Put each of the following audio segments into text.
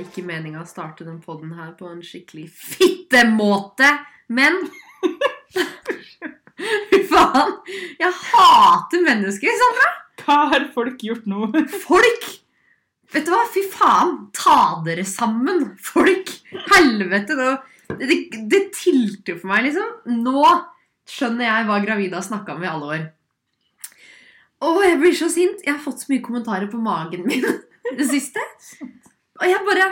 ikke meninga å starte den podden her på en skikkelig fittemåte, men Fy faen! Jeg hater mennesker, Sandra! Hva har folk gjort nå? Folk! Vet du hva? Fy faen! Ta dere sammen, folk! Helvete! Det, det, det tilter for meg, liksom. Nå skjønner jeg hva gravide har snakka om i alle år. Å, jeg blir så sint! Jeg har fått så mye kommentarer på magen min det siste. Og jeg bare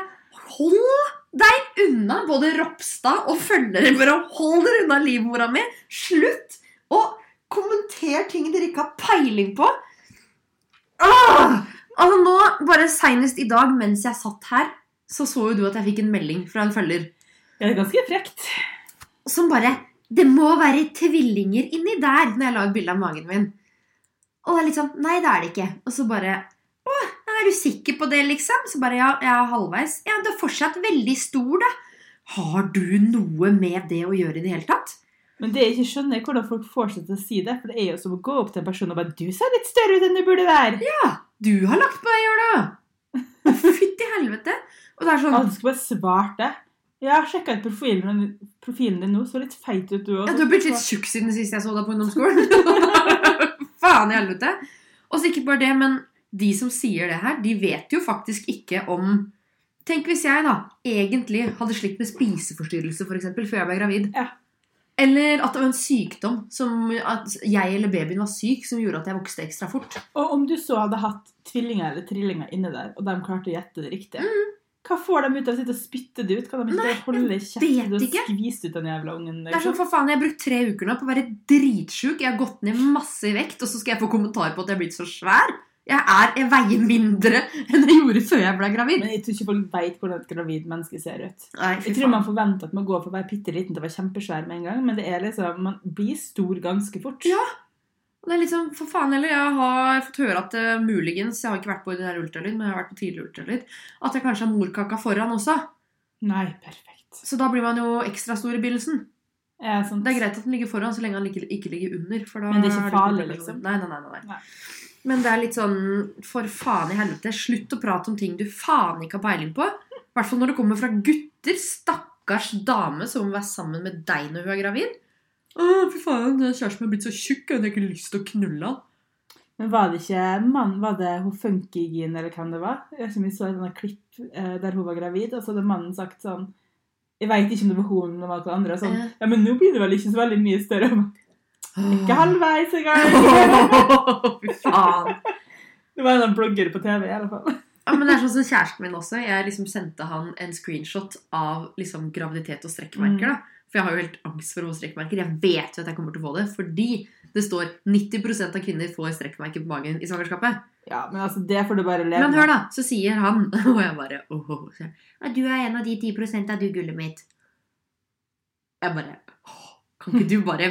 Hold deg unna både Ropstad og følgere! Bare hold dere unna livmora mi! Slutt å kommentere ting dere ikke har peiling på! Åh! Altså nå, bare Senest i dag, mens jeg satt her, så så jo du at jeg fikk en melding fra en følger Det er ganske frekt. som bare 'Det må være tvillinger inni der' når jeg la et bilde av magen min. Og det er litt sånn Nei, det er det ikke. Og så bare Å, er du sikker på det, liksom? Så bare Ja, jeg er halvveis. Ja, du er fortsatt veldig stor, da. Har du noe med det å gjøre i det hele tatt? Men det jeg ikke skjønner, er hvordan folk får seg til å si det. For det er jo som å gå opp til en person og bare 'Du ser litt større ut enn du burde være'. Du har lagt på deg i år, da! Å, Fytti helvete! Og det er sånn Alle skulle bare svart det. Jeg har sjekka ut profilen, profilen din nå. Så litt feit ut, du òg. Ja, du har blitt litt tjukk siden sist jeg så deg på ungdomsskolen. Faen i helvete. Og så ikke bare det, men de som sier det her, de vet jo faktisk ikke om Tenk hvis jeg da egentlig hadde slitt med spiseforstyrrelse for eksempel, før jeg ble gravid. Ja. Eller at det var en sykdom, som at jeg eller babyen var syk, som gjorde at jeg vokste ekstra fort. Og om du så hadde hatt tvillinger eller trillinger inni der, og de klarte å gjette det riktig Hva får de ut av å sitte og spytte det ut? Kan de ikke bare holde Mm. vet kjeften og ikke. skvise ut den jævla ungen? liksom? Det er sånn, for faen, Jeg har brukt tre uker nå på å være dritsjuk. Jeg har gått ned masse i vekt, og så skal jeg få kommentar på at jeg er blitt så svær. Jeg er jeg veier mindre enn jeg gjorde før jeg ble gravid. Men jeg tror ikke folk veit hvordan et gravid menneske ser ut. Nei, fy Jeg tror man forventer at man går fra å være bitte liten til å være kjempesvær med en gang, men det er liksom, man blir stor ganske fort. Ja. Og Det er litt sånn, for faen heller, Jeg har fått høre at eh, muligens Jeg har ikke vært på ordinær ultralyd, men jeg har vært på tidlig ultralyd. At jeg kanskje har morkaka foran også. Nei, perfekt. sånn- Så da blir man jo ekstra stor i begynnelsen. Ja, sant. Det er greit at den ligger foran, så lenge den ikke, ikke ligger under. For da Men det er ikke farlig, komplikasjoner. liksom? Nei, nei, nei, nei, nei. Nei. Men det er litt sånn For faen i helvete, slutt å prate om ting du faen ikke har peiling på. I hvert fall når det kommer fra gutter. Stakkars dame som vil være sammen med deg når hun er gravid. Å, fy faen, den kjæresten min er blitt så tjukk, jeg hadde ikke lyst til å knulle han. Men var det ikke mann, var det hun Funkygin eller hvem det var? Jeg husker vi så et klipp eh, der hun var gravid, og så hadde mannen sagt sånn Jeg veit ikke om det var hun eller noen andre. og Sånn, Ja. ja, men nå blir det vel ikke så veldig mye større. Og bare, Ikke halvveis engang! Fy faen. Det var en sånn blogger på TV i alle fall. Ja, men det er sånn som kjæresten min også. Jeg liksom sendte han en screenshot av liksom graviditet og strekkmerker. da. For jeg har jo helt angst for å få strekkmerker. Jeg vet jo at jeg kommer til å få det. Fordi det står 90 av kvinner får strekkmerker på magen i svangerskapet. Ja, men altså, det får du bare leve Men hør, da. Så sier han, og jeg bare åh, åh, sier han, «Ja, Du er en av de 10 av du, gullet mitt. Jeg bare åh, Kan ikke du bare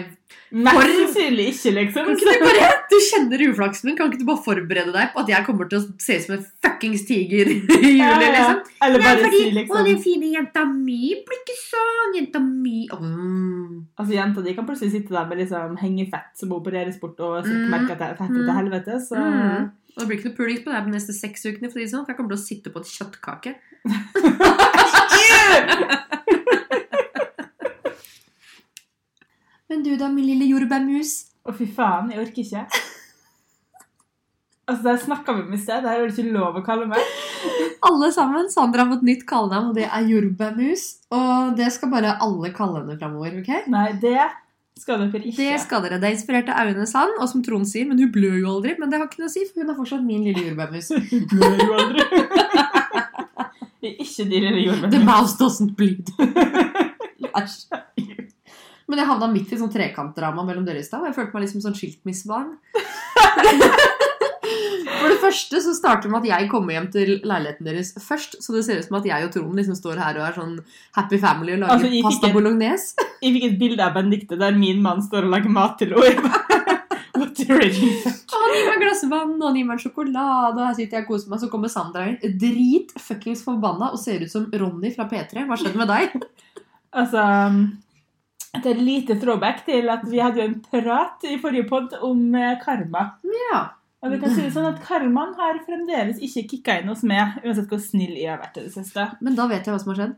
Mest sannsynlig ikke, liksom. Kan ikke du bare Du kjenner uflaksen min, kan ikke du bare forberede deg på at jeg kommer til å se ut som en fuckings tiger i Ja, juli, ja. liksom? Eller Nei, bare fordi, si Å, liksom den fine jenta mi blir ikke sånn. Jenta mi Åh, mm. Altså, Jenta di kan plutselig sitte der med liksom hengefett som opereres bort, og Mm. merke at det er fett Mm. til helvete, så Mm. Og Det blir ikke noe puling på deg de neste seks ukene, for, å si det sånn, for jeg kommer til å sitte på et kjøttkake. Men du da, min lille jordbærmus? Å, fy faen, jeg orker ikke. Altså, Der snakka vi om i sted. Det her er det ikke lov å kalle meg. Alle sammen. Sandra har fått nytt kallenavn, og det er jordbærmus. Og det skal bare alle kalle henne framover, OK? Nei, det skal dere ikke. Det skal dere. Det er inspirert av Aune Sand, og som Trond sier, men hun blør jo aldri. Men det har ikke noe å si, for hun er fortsatt min lille jordbærmus. Du blør jo aldri. Det er ikke de lille The jordbærene. mouse doesn't bleed. Æsj. Men jeg havna midt i sånn trekantdrama mellom dere i stad. og Jeg følte meg liksom sånn skiltmissbarn. For det første så starter det med at jeg kommer hjem til leiligheten deres først. Så det ser ut som at jeg og Trond liksom står her og er sånn happy family og lager Altså, jeg fikk pasta en- bolognese. Jeg fikk et bilde av Benedicte der min mann står og lager mat til henne. What the original? Og han gir meg et glass vann, og han gir meg en sjokolade, og her sitter jeg og koser meg. Så kommer Sandra inn drit fuckings forbanna og ser ut som Ronny fra P3. Hva skjedde med deg? Altså Det er et lite throwback til at vi hadde jo en prat i forrige pod om eh, karma. Ja. Og Og vi kan si det sånn at karmaen har fremdeles ikke kicka inn hos meg, uansett hvor snill jeg har vært i det siste. Men da vet jeg hva som har skjedd.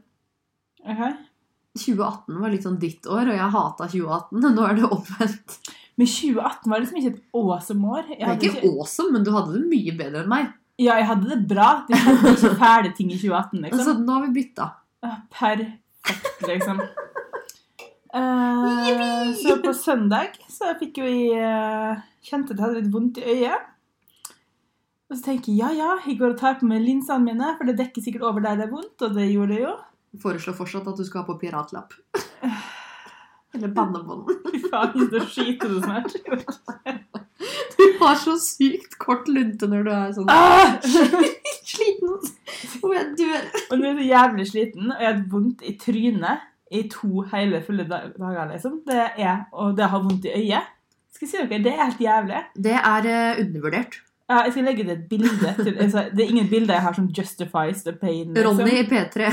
Ok? 2018 var litt sånn ditt år, og jeg hata 2018. og Nå er det omvendt. Men 2018 var liksom ikke et awesome år. Jeg Det er hadde ikke awesome, men du hadde det mye bedre enn meg. Ja, jeg hadde det bra. Det skjedde ikke fæle ting i 2018, liksom. Altså, nå har vi bytta. Ah, Perfekt, liksom. Eh, så på søndag så fikk jo jeg eh, Kjente at jeg hadde litt vondt i øyet. Og så tenker jeg ja, ja, jeg går og tar på meg linsene mine, for det dekker sikkert over der det er vondt. Og det gjorde det jo. Foreslår fortsatt at du skal ha på piratlapp. Eller bannebånd. Fy faen, så skiter du snart. Du har så sykt kort lunte når du er sånn Ah! sliten. Og jeg dør. Og nå er jeg så jævlig sliten, og jeg har vondt i trynet i to hele fulle da- dager, liksom. Det er, og det har vondt i øyet. Skal jeg si dere, det er helt jævlig. Det er eh, undervurdert. Ja, jeg skal legge det et bilde til altså, Det er ingen bilder jeg har som justifies the pain. liksom. Ronny i P3.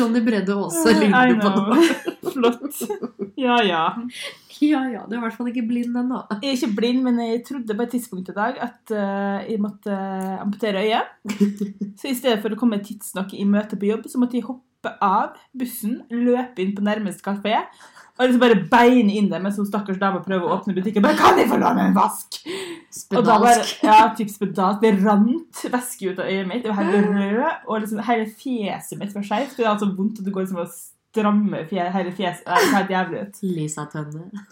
Ronny Bredde Aase ligner I du på nå. know. Flott. Ja, ja. Ja, ja. Du er i hvert fall ikke blind ennå. Jeg er ikke blind, men jeg trodde på et tidspunkt i dag at eh, jeg måtte eh, amputere øyet. Så i stedet for å komme tidsnok i møte på jobb, så måtte jeg hoppe av bussen, løpe inn på nærmeste kafé og liksom bare beine inn der mens hun stakkars dama prøver å åpne butikken. Bare, kan jeg få låne en vask? Og da bare, Spedalsk. ja, typ spedalsk. Det rant væske ut av øyet mitt. Det var Ah. helt rød, og liksom, hele fjeset mitt var skjevt. Det var så vondt at det går liksom og strammer fje, hele fjeset. Nei, Det ser helt jævlig ut. Lisa Tønne.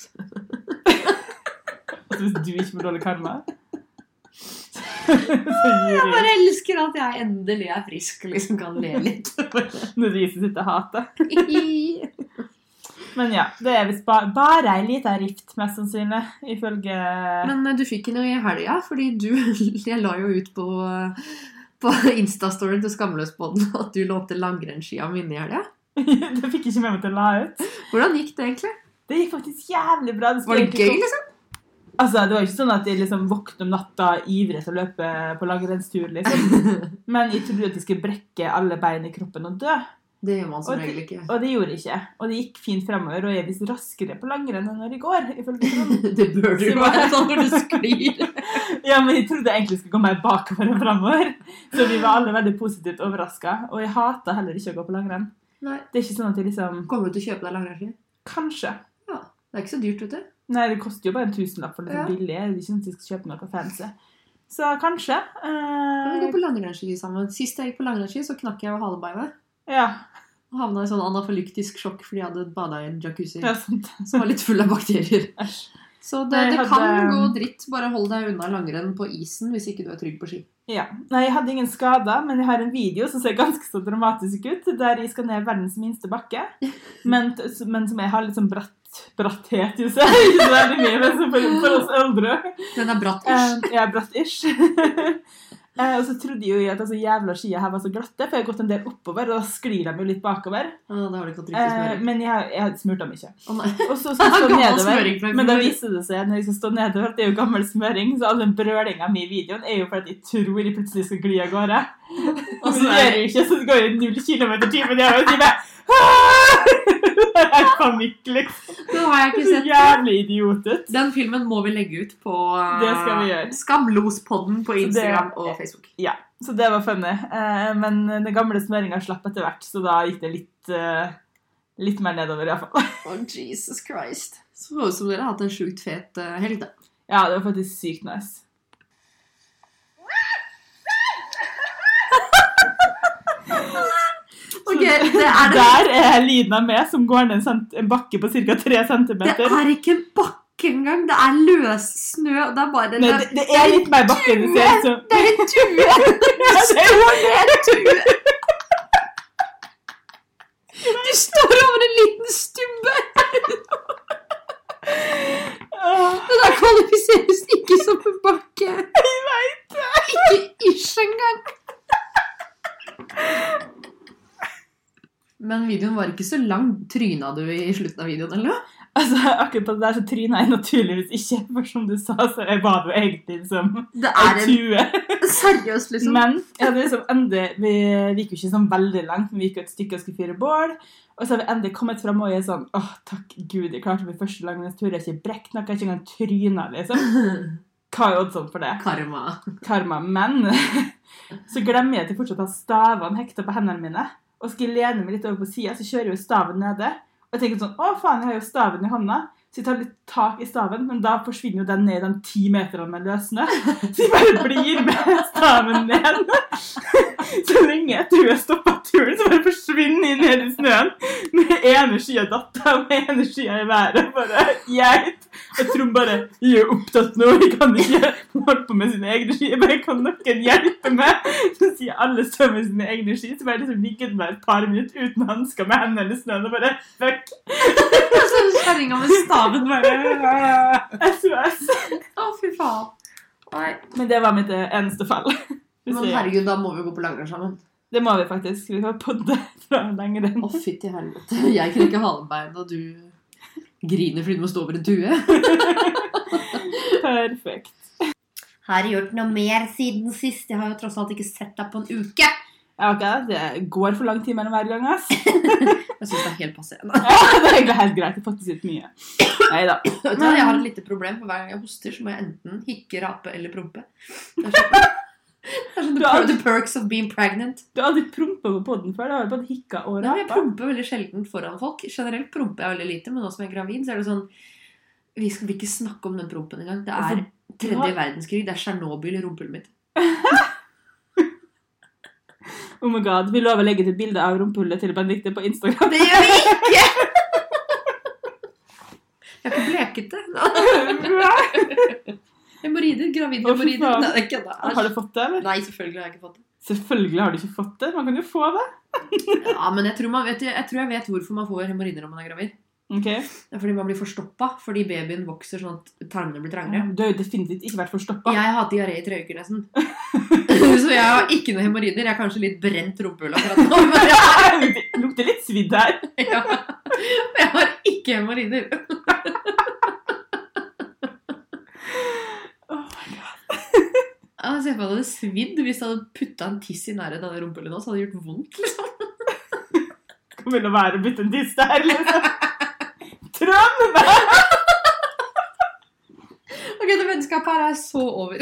Altså, hvis du ikke får dårlig karma så gir Jeg bare elsker at jeg endelig er frisk og liksom kan le litt. jeg Når de som sitter og hater. Nei, Men ja, det er visst ba bare ei lita rift, mest sannsynlig, ifølge Men eh, du fikk den jo i helga, fordi du Jeg la jo ut på, eh, på Insta-storyen til Skamløsbåten at du lånte langrennsskia mine i helga. Det fikk jeg ikke med meg til å la ut. Hvordan gikk det egentlig? Det gikk faktisk jævlig bra. skulle Var det egentlig gøy, stå- liksom? Altså, Det var jo ikke sånn at jeg liksom våknet om natta ivrig til å løpe på langrennstur. liksom. Men jeg trodde at jeg skulle brekke alle bein i kroppen og dø. Det gjør man som Og det- regel ikke. Og det gjorde jeg ikke. Og det gikk fint fremover, og jeg er visst raskere på langrenn enn når jeg går. ifølge Trond. Det bør du jo være sånn når du sklir. Ja, men jeg trodde jeg egentlig skulle gå mer bakover enn fremover. Så vi var alle veldig positivt overraska. Og jeg hater heller ikke å gå på langrenn. Nei. Det er ikke sånn at jeg liksom Kommer du til å kjøpe deg langrennsski? Kanskje. Det er ikke så dyrt, vet du. Nei, det koster jo bare en tusenlapp for det Ja. er billig. Det er ikke sånn at jeg skal kjøpe noe fancy. Så kanskje. Kan vi gå Eh, på langrennsski sammen? Sist jeg gikk på langrennsski, så knakk jeg jo halebeinet. Eh, ja, Og havna i sånn anafylyktisk sjokk fordi jeg hadde bada i en jacuzzi det er sant. som var litt full av bakterier. Æsj. Så det, Nei, jeg det kan hadde- gå dritt. Bare hold deg unna langrenn på isen hvis ikke du er trygg på ski. Ja. Nei, jeg hadde ingen skader, men jeg har en video som ser ganske så dramatisk ut, der jeg skal ned verdens minste bakke, men, men som jeg har litt sånn bratt, bratthet i seg. Ikke så veldig mye, men så for, for oss eldre. Den er bratt. Eh, ish. Jeg er bratt-ish. Eh, og så trodde jeg jo at altså, jævla skia her var så glatte, for jeg har gått en del oppover, og da sklir de jo litt bakover. Ah, da har du ikke hatt riktig Eh, smøring. men jeg, jeg smurte dem ikke. Å, nei. Og så skal jeg stå Gammel smøring fra nedover, i men da fjor. viser det seg når jeg skal stå nedover, at det er jo gammel smøring, så all den brølinga mi i videoen er jo fordi jeg tror jeg plutselig skal gli av gårde. Og Men så det er- gjør jeg ikke, så det går jo null kilometer i timen nedover, og så jeg bare «Ah!» Det er panikk, liksom. Den har jeg Det ikke er Så sett. jævlig idiot ut. Den filmen må vi legge ut på eh, Det skal vi gjøre. Skamlospodden på det- Instagram og Facebook. Så det var funny. Eh, Men den gamle smøringa slapp etter hvert, så da gikk det litt, eh, litt mer nedover, iallfall. Oh, Jesus Christ. Så ut som dere har hatt en sjukt fet eh, helg, da. Ja, det var faktisk sykt nice. Ok, det er det. Der er lyden av meg som går ned en, cent en bakke på ca. 3 cm. Det er ikke en bakke engang. Det er løs snø. og Det er bare Nei, det, det er litt mer bakke enn det ser ut som. Det er en tue! Ja, det er jo det. Du står over en liten stubbe! Åh, Det der kvalifiseres ikke som en bakke. Ikke ish engang. Men videoen var ikke så lang. Tryna du i slutten av videoen, eller? noe? Altså, akkurat på det der så tryna jeg naturligvis ikke, for som du sa, så jeg var jo egentlig liksom Det ei er en tue. Seriøst, liksom. Men jeg hadde liksom endelig, vi, vi gikk jo ikke sånn veldig langt, men vi gikk jo et stykke og skulle fyre bål. Og så har vi endelig kommet fram, og jeg er sånn åh, takk gud, jeg klarte min første lange tur. Jeg har ikke brekt noe, jeg har ikke engang tryna, liksom. Hva er oddsene for det? Karma. Karma. Men så glemmer jeg til fortsatt å ha stavene hekta på hendene mine. Og skal jeg lene meg litt over på sida, så kjører jeg jo staven nede. Og jeg tenker sånn Å, faen, jeg har jo staven i hånda. Så jeg tar litt tak i staven, men da forsvinner jo den ned i de ti meterne med løssnø. Så jeg bare blir med staven ned. Så lenge etter hun har stoppa turen, så bare forsvinner jeg ned i snøen. Med ene skia datt av, med ene skia i været. Bare geit. Jeg tror bare Vi er opptatt nå, vi kan ikke holde på med sine egne ski. Jeg bare kan noen hjelpe meg? Så sier alle sammen sine egne ski. Så bare liksom ligger den der et par minutter uten hansker med hendene eller snøen og bare fuck. Sånn kjerringa med staven bare SOS. Å, fy faen. Nei. Men det var mitt eh, eneste fall. Men herregud, da må vi gå på langrenn sammen. Det må vi faktisk. Vi har podde fra lenger enn Å, fytti helvete. Jeg krekker halebein, og du griner fordi du må stå over en tue. perfekt. Har gjort noe mer siden sist. Jeg har jo tross alt ikke sett deg på en uke. Ja, ok, Det går for lang tid mellom hver gang, ass. Jeg syns det er helt passerende. Ja, det er egentlig helt greit. Jeg fattes ut mye. Nei da. Vet du hva, Jeg har et lite problem, for hver gang jeg hoster, så må jeg enten hikke, rape eller prompe. Det er sånn, det er sånn the, per- the perks of being pregnant. Du har aldri prompa på poden før. Du har bare hikka og Nei, men jeg rapa. promper veldig sjelden foran folk. Generelt promper jeg veldig lite, men nå som jeg er gravid, så er det sånn Vi skal ikke snakke om den prompen engang. Det er tredje verdenskrig. Det er Tsjernobyl i rumpehullet mitt. Oh my god. Vi lover å legge ut et bilde av rumpehullet til Benedicte på Instagram. Det gjør vi ikke! Jeg har ikke bleket det. Bra. Hemoroider. Gravide Å, fy hemoroider. Nei, faen. det er ikke det. har du fått det, eller? Nei, selvfølgelig har jeg ikke fått det. Selvfølgelig har du ikke fått det. Man kan jo få det. Ja, men jeg tror, man vet, jeg tror jeg vet hvorfor man får hemoroider når man er gravid. Ok. Det er fordi man blir forstoppa fordi babyen vokser sånn at tarmene blir trangere. Du har jo definitivt ikke vært forstoppa. Jeg har hatt diaré i tre uker nesten. Så jeg har ikke noe hemoroider. Jeg har kanskje litt brent rumpehull akkurat nå. Men jeg, Det lukter litt svidd her. ja. Men jeg har ikke hemoroider. Åh, Ah, Jeg ser for meg at det hadde svidd hvis jeg hadde putta en tiss i nærheten av det rumpehullet nå. Så hadde det gjort vondt. liksom. Kommer til å være å bytte en tiss der, liksom. Trond! hva? Ok, det vennskapet her er så over.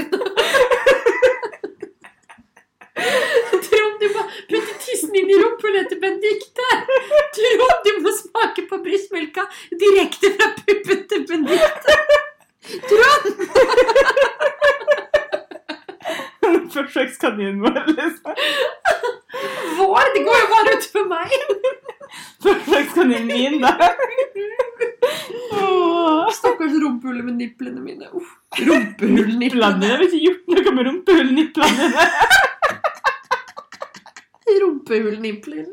Trond, du må putte tissen inn i rumpehullet til Benedicte. Trond, du må smake på brystmelka direkte fra puppen til Benedicte. Trond! Forsøkskaninen vår, liksom. Vår, det går jo bare ut for meg. Forsøkskaninen min, da. Åh. Stakkars rumpehullet med nipplene mine. Uff, Rumpehullnipplene. Nipplene. Jeg har ikke gjort noe med rumpehullnipplene. Rumpehullnippler.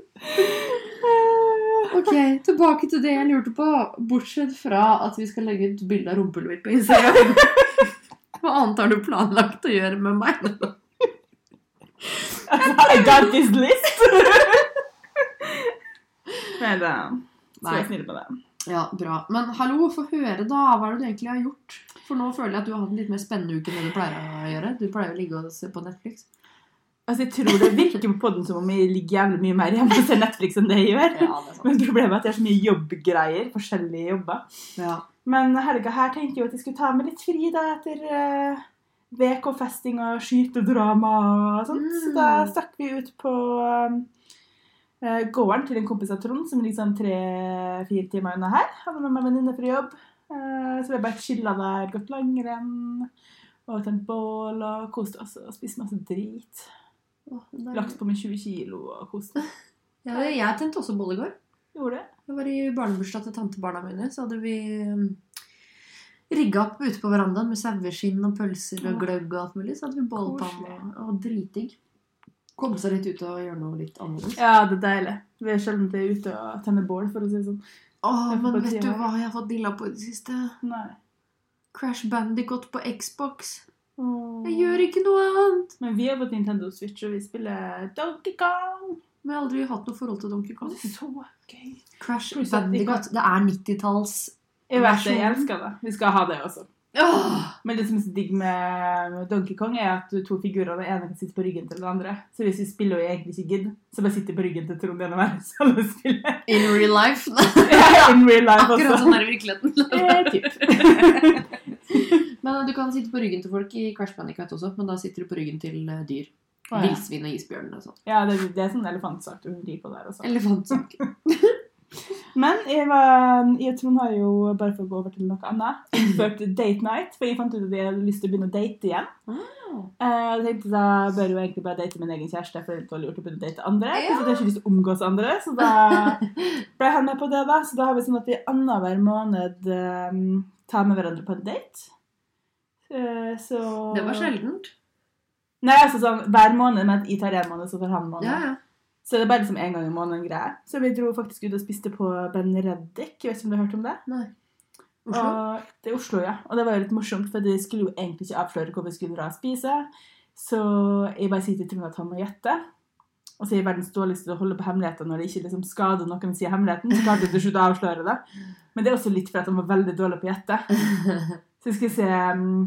Ok, tilbake til det jeg lurte på. Bortsett fra at vi skal legge ut bilde av rumpehullet mitt på Instagram. Hva annet har du planlagt å gjøre med meg? Altså, I got this list. Nei da. Så Nei. jeg snill på det. Ja, bra. Men hallo, få høre, da. Hva er det du egentlig har gjort? For nå føler jeg at du har hatt en litt mer spennende uke enn det du pleier å gjøre. Du pleier å ligge og se på Netflix. Altså, jeg tror det virker på podden som om jeg ligger jævlig mye mer hjemme og ser Netflix enn det jeg gjør. Ja, det er sant. Men problemet er at jeg har så mye jobbgreier, forskjellige jobber. Ja. Men helga her tenkte jeg jo at jeg skulle ta meg litt fri da, etter eh, VK-festing og skytedrama og sånt. Så da Mm. stakk vi ut på eh, gården til en kompis av Trond, som ligger sånn tre-fire timer unna her. Han var med meg venninne fra jobb. Eh, så vi bare chilla der, gått langrenn og tent bål og kost oss og spist masse drit. Å, det er- Lagt på meg 20 kilo og kost oss. Ja, jeg tente også bolle i går. Gjorde det. Det var i barnebursdag til tantebarna mine. Så hadde vi um, rigga opp ute på verandaen med saueskinn og pølser og Åh. gløgg og alt mulig. Så hadde vi bålpanne Koselig. og dritdigg. Komme seg litt ut og gjøre noe litt annerledes. Ja, det er deilig. Vi er sjelden ute og tenner bål, for å si det sånn. Åh, Jeg får men bare vet si du meg. hva jeg har fått dilla på i det siste? Nei. Crash Bandicoot på Xbox. Åh. Jeg gjør ikke noe annet! Men vi har fått Nintendo Switch, og vi spiller Donkey Kong. Men jeg har aldri hatt noe forhold til Donkey Og Kong. det er så gøy. Crash Pluss at de Bandicoot. Det er 90-talls Jeg vet det, jeg Versjonen. elsker det. Vi skal ha det også. Åh, Men det som er så digg med med Donkey Kong, er at to figurer, den ene kan sitte på ryggen til den andre. Så hvis vi spiller og jeg egentlig ikke gidder, så bare sitter jeg på ryggen til Trond gjennom hver alle spiller. in real life. Ja, In real life Akkurat også. sånn er det i virkeligheten. Eh, typ. Men eh, du kan sitte på ryggen til folk i Crash Bandicoot også, men da sitter du på ryggen til eh, dyr. Å, ja. Villsvin og isbjørn og sånn. Ja, det, det er sånn elefantsak du rir på der også. Elefantsak. Men jeg, var, jeg og Trond har jo, bare for å gå over til noe annet, innført date night. For jeg fant ut at jeg hadde lyst til å begynne å date igjen. Ah. Eh, og tenkte da bør jeg jo egentlig bare date min egen kjæreste, for det er litt lurt å begynne å date andre. Ja. Ja. Jeg har ikke lyst til å omgås andre, så da ble han med på det. da. Så da har vi sånn at vi annenhver måned eh, tar med hverandre på en date. Eh, så Det var sjeldent. Nei, altså sånn hver måned, men at jeg tar en måned, så tar han en måned. Ja, ja. Så det er bare liksom en gang i måneden greier. Så vi dro faktisk ut og spiste på Ben Reddik. Jeg vet ikke om du har hørt om det? Nei. Oslo. Og, det er Oslo, ja. Og det var jo litt morsomt, for de skulle jo egentlig ikke avsløre hvor vi skulle dra og spise. Så jeg bare sier til Trond at han må gjette. Og så er jeg verdens dårligste til å holde på hemmeligheter når det ikke liksom skader noen å si hemmeligheten. Så klarte jeg til slutt å avsløre det. Men det er også litt fordi han var veldig dårlig på å gjette. Så skal jeg se um,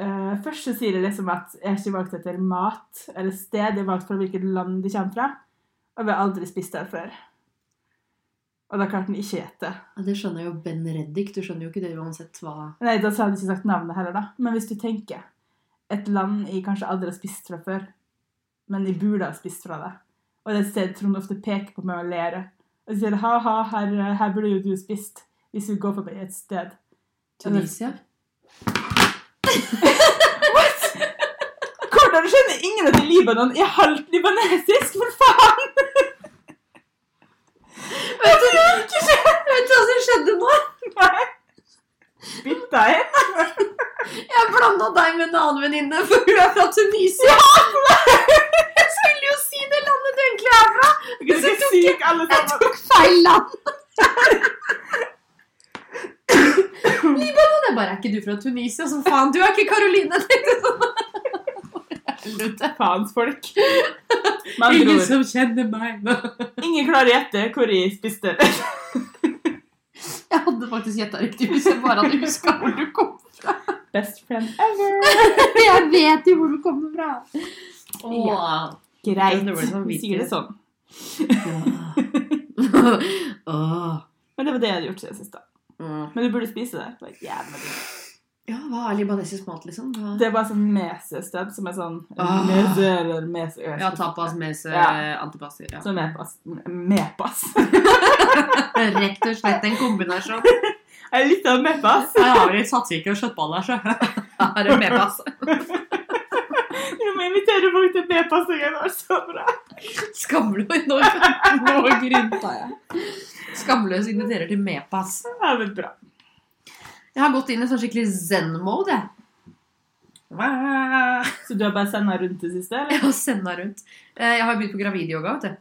eh, Først så sier det liksom at jeg har ikke valgt etter mat eller sted. Jeg har valgt fra hvilket land de kommer fra. Og vi har aldri spist der før. Og da klarte han ikke å gjette. Ja, Det skjønner jo Ben Reddik. Du skjønner jo ikke det uansett hva Nei, da hadde jeg ikke sagt navnet heller, da. Men hvis du tenker et land jeg kanskje aldri har spist fra før, men jeg burde ha spist fra det, og det er et sted Trond ofte peker på meg og ler og sier ha-ha, her, her burde jo du spist, hvis vi går forbi et sted. Tunisia Hvordan skjønner ingen at i Libanon er halvt libanesisk, for faen? Vet du vet du hva som skjedde nå? Bytta inn. Jeg blanda deg med en annen venninne, for hun er fra Tunisia. Jeg skulle jo si det landet du egentlig er fra! Du er syk, alle Jeg sammen. tok feil land! Libanon jeg bare Er ikke du fra Tunisia? Så faen, du er ikke Karoline! tenkte jeg sånn. Faens folk. Med andre ord, som kjenner meg. ingen klarer å gjette hvor jeg spiste. Jeg hadde faktisk gjetta riktig hvis jeg bare hadde huska hvor du kom Best friend ever. Jeg vet jo hvor du kommer fra. Ja. Det Greit. var sånn Vi sier det sånn. Men det var det jeg hadde gjort siden sist. da. Men du burde spise det. Det var jævla digg. Ja, hva er libanesisk mat, liksom? Hva- Det er bare sånn mesested som er sånn Ah. Mese eller mese Ja, tapas, mese, Ja. antipasti. Ja. Så mepas. Mepas. Rett og slett en kombinasjon. Jeg likte mepas. Her har vi satsvike og kjøttballer, så her er det mepas. Du må invitere folk til mepas. Det var så bra. Skamløs nå, nå grynta jeg. Skamløs inviterer til mepas. Ja, men bra. Jeg har gått inn i sånn skikkelig zen-mode, jeg. Jeg Så du har bare senda rundt det siste? eller? har senda rundt. Eh, Jeg har begynt på gravidyoga, vet du.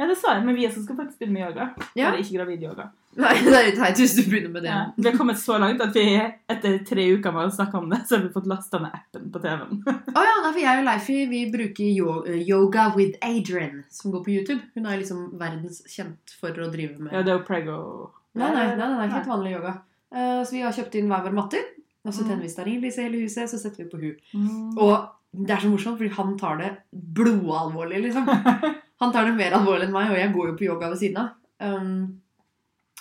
Ja, det sa jeg. Men vi også skal faktisk begynne med yoga. Ja. Eller ikke gravidyoga. Nei, det er litt teit hvis du begynner med det. Ja. Vi har kommet så langt at vi etter tre uker med å snakke om det, så har vi fått lasta ned appen på TV-en. Å ja, nei, for jeg og Leifi vi bruker yo eh, Yoga with Adrian, som går på YouTube. Hun er liksom verdens kjent for å drive med Ja, det er jo prego. Nei, nei, Eh, nei, nei, det er ikke helt vanlig yoga. Eh, så vi har kjøpt inn hver vår matter, og så Mm. tenner vi stearinlys i hele huset, så setter vi på hun. Mm. Og det er så morsomt, fordi han tar det blodalvorlig, liksom. Han tar det mer alvorlig enn meg, og jeg går jo på yoga ved siden av. Um,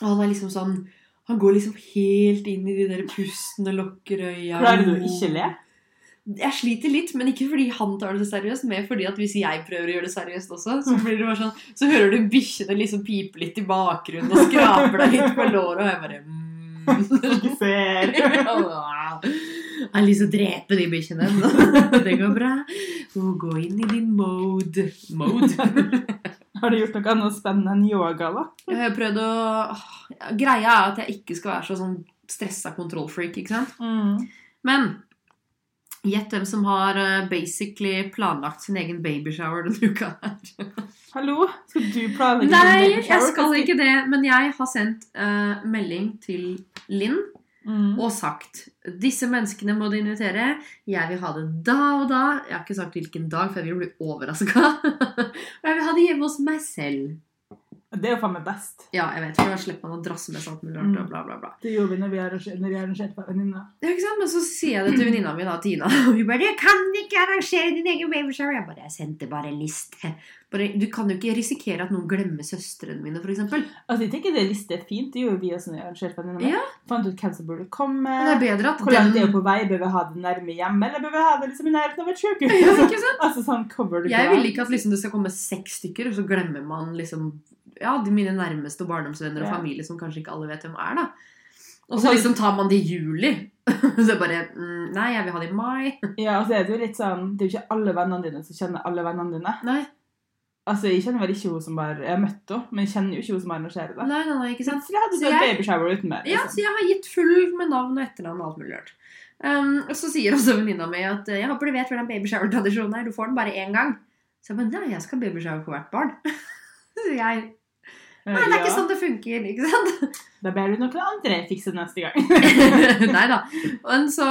og han er liksom sånn Han går liksom helt inn i de der pustene, lukker øya Klarer du å ikke le? Jeg sliter litt, men ikke fordi han tar det så seriøst, men fordi at hvis jeg prøver å gjøre det seriøst også, så blir det bare sånn Så hører du bikkjene liksom pipe litt i bakgrunnen og skraper deg litt på låret, og jeg bare mm. Ikke ser. Jeg har lyst til å drepe de bikkjene. Det går bra. Og gå inn i din mode. Mode? Har du gjort noe annet spennende enn yoga, da? Jeg har prøvd å ja, Greia er at jeg ikke skal være så sånn stressa kontrollfreak, ikke sant? Men gjett hvem som har eh, basically planlagt sin egen babyshower denne uka. her. Hallo? Skal du planlegge din Nei, babyshower? jeg skal ikke det. Men jeg har sendt eh, melding til Linn Mm. og sagt disse menneskene må du invitere. Jeg vil ha det da og da. Jeg har ikke sagt hvilken dag, for jeg vil bli overraska. og jeg vil ha det hjemme hos meg selv. Det er jo faen meg best. Ja, jeg vet, for da slipper man å drasse med seg alt mulig rart og bla, bla, bla. Det gjorde vi når vi arrangerte, når vi arrangerte for venninna. Ja, ikke sant? Men så sier jeg det til venninna mi, da, Tina. Og hun bare 'Jeg kan ikke arrangere din egen babyshower'. Jeg bare 'Jeg sendte bare en liste'. Bare, du kan jo ikke risikere at noen glemmer søstrene mine, for eksempel. Altså, jeg tenker det liste er fint. Det gjorde vi også når vi arrangerte for venninna. Ja. Fant ut hvem som burde Men det komme. er bedre at Hvor langt er den det på vei? Bør vi ha det nærme hjemme, eller bør vi ha det liksom i nærheten av et sykehus? ja, ikke sant? Altså sånn cover the Jeg ground. vil ikke at liksom, det skal komme seks stykker, og så glemmer man liksom Ja, de mine nærmeste og barndomsvenner og Ja. familie som kanskje ikke alle vet hvem er, da. Og så liksom tar man det i juli. Så bare mm, Nei, jeg vil ha det i mai. Ja, altså er det jo litt sånn Det er jo ikke alle vennene dine som kjenner alle vennene dine. Nei, Altså, Jeg kjenner vel ikke hun som har Jeg har møtt henne, men jeg kjenner jo ikke hun som arrangerer det. nei, nei, nei ikke sant? Plutselig hadde du Så et jeg- babyshower uten meg. Ja, Liksom. så jeg har gitt full med navn og etternavn og alt mulig rart. Um, og så sier også venninna mi at eh, jeg håper du vet hvordan babyshower-tradisjonen er. Du får den bare én gang. Så jeg bare nei, jeg skal ha babyshower for hvert barn. så jeg Nei, det er ikke sånn det funker, ikke sant? Da ber du noen andre fikse det neste gang. nei da. Men så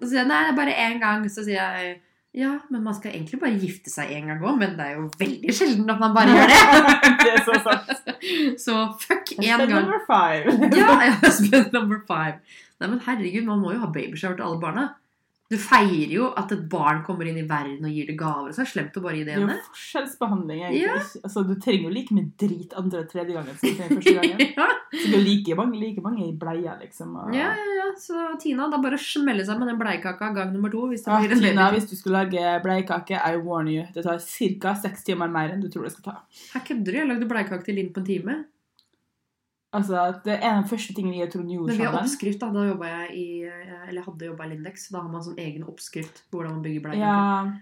så sier jeg nei, det er bare én gang. Så sier jeg ja, men man skal egentlig bare gifte seg én gang òg, men det er jo veldig sjelden at man bare gjør det. det er så sant. Så fuck én Step gang. number five. Ja, jeg har spent number five. Nei, men herregud, man må jo ha babyshower til alle barna. Du feirer jo at et barn kommer inn i verden og gir det gaver. Så er det slemt å bare gi det Det er jo ene. forskjellsbehandling. Ja. egentlig. Altså, Du trenger jo like mye drit andre og tredje gangen som du trenger første gangen. Ja, Så det er jo like mange, like mange i bleia, liksom. Og... ja, ja, ja. Så Tina, da bare smelle sammen den bleikaka gang nummer to. Hvis det Ah, blir en Tina, ledig. hvis du skulle lage bleiekake, I warn you. Det tar ca. seks timer mer enn du tror det skal ta. Her kødder du. Jeg lagde bleikake til Linn på en time. Altså, Det er en av de første tingene jeg og Trond gjorde Men vi har sammen. oppskrift, da. Da jobbet jeg i Eller hadde jobba i Lindex. Så da har man sånn egen oppskrift på hvordan man bygger Ja, bleikake.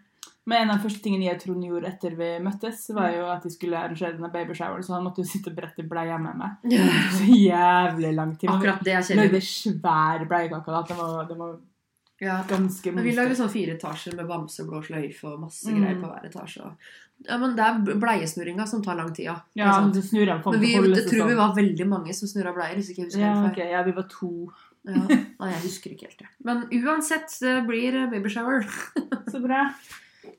men En av de første tingene jeg og Trond gjorde etter vi møttes, var jo at jeg skulle arrangere denne babyshoweren, så han måtte jo sitte og brette bleia med meg. Så jævlig lang tid. Men Akkurat det er Vi kjedelig. lagde svær bleiekake. da. Den var, den var Ja. ganske Men vi monster. lager sånn fire etasjer med bamse, blå sløyfe og masse Mm. greier på hver etasje. Og... Ja, men det er b- bleiesnurringa som tar lang tid, ja. Det er Ja, sant. du snur den på men vi, på holdet, jeg så tror vi sånn. var veldig mange som snurra bleier. hvis ikke jeg husker ja, helt ok, ja, vi var to. feil. Ja. Nei, jeg husker ikke helt det. Men uansett, det blir babyshower. Så bra.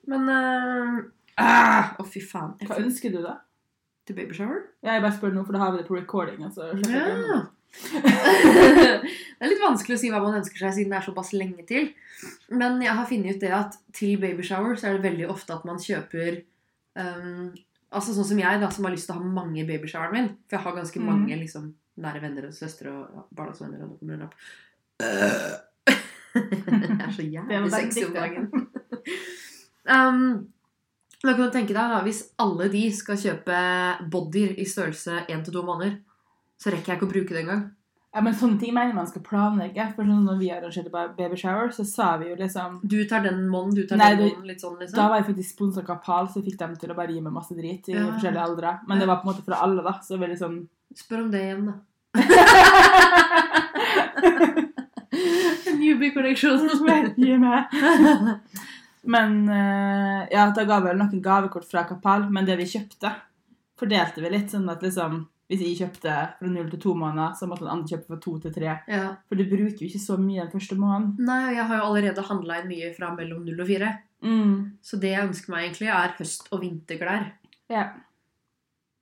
Men eh, ah, Å, fy faen. Jeg Hva fikk ønsker du, da? til babyshower. Ja, jeg bare spør nå, for da har vi det på recording. Altså. Ja. det er litt vanskelig å si hva man ønsker seg, siden det er såpass lenge til. Men jeg har funnet ut det at til babyshower så er det veldig ofte at man kjøper ehm, Altså sånn som jeg, da, som har lyst til å ha mange i babyshoweren min. For jeg har ganske Mm. mange liksom, nære venner og søstre og ja, barndomsvenner. Og nå kommer hun opp. Eh. jeg er så Det var jævlig bare sexy om dagen. riktig. Ehm, da kan du tenke deg da, Hvis alle de skal kjøpe bodyer i størrelse 1-2 måneder, så rekker jeg ikke å bruke det engang. Ja, men sånne ting mener jeg man skal planlegge. For sånn når vi arrangerte ba- baby shower, så sa vi jo liksom Du tar den måneden, du tar Nei, den du- måneden, litt sånn, Da liksom. var jeg faktisk sponset av Pal, så jeg fikk dem til å bare gi meg masse drit i Ja. forskjellige aldre. Men det var på en måte fra alle, da. Så veldig sånn Spør om det igjen, da. Newbie collection. Gi meg. Men eh, ja, da ga vi vel noen gavekort fra Kapal, men det vi kjøpte, fordelte vi litt. Sånn at liksom, hvis jeg kjøpte fra null til to måneder, så måtte den andre kjøpe fra to til tre. ja. For du bruker jo ikke så mye den første måneden. Nei, og jeg har jo allerede handla inn mye fra mellom null og fire. Mm. Så det jeg ønsker meg egentlig, er høst- og vinterklær. Ja.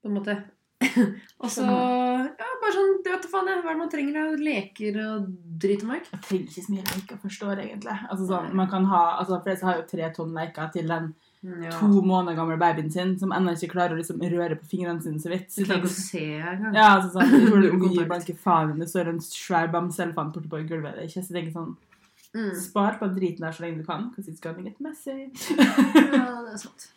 På en måte. og så Skjønner. ja, bare sånn, du vet da faen, jeg, hva er det man trenger av leker og drit og møkk? Jeg trenger ikke så mye leker første år, egentlig. Altså, sånn, man kan ha, altså, for jeg har jo tre tonn leker til den Mm, Ja. to måneder gamle babyen sin, som ennå ikke klarer å liksom, røre på fingrene sine så vidt. Du Så klarer ikke å liksom- se engang. Ja, altså sånn, jeg tror det Null gir kontakt. blanke faen Det står en svær bamselefant borte på gulvet. Det er ikke så det er ikke sånn, Mm. Spar på den driten der så lenge du kan. 'cause it's gonna get messy. Ja, det er sant.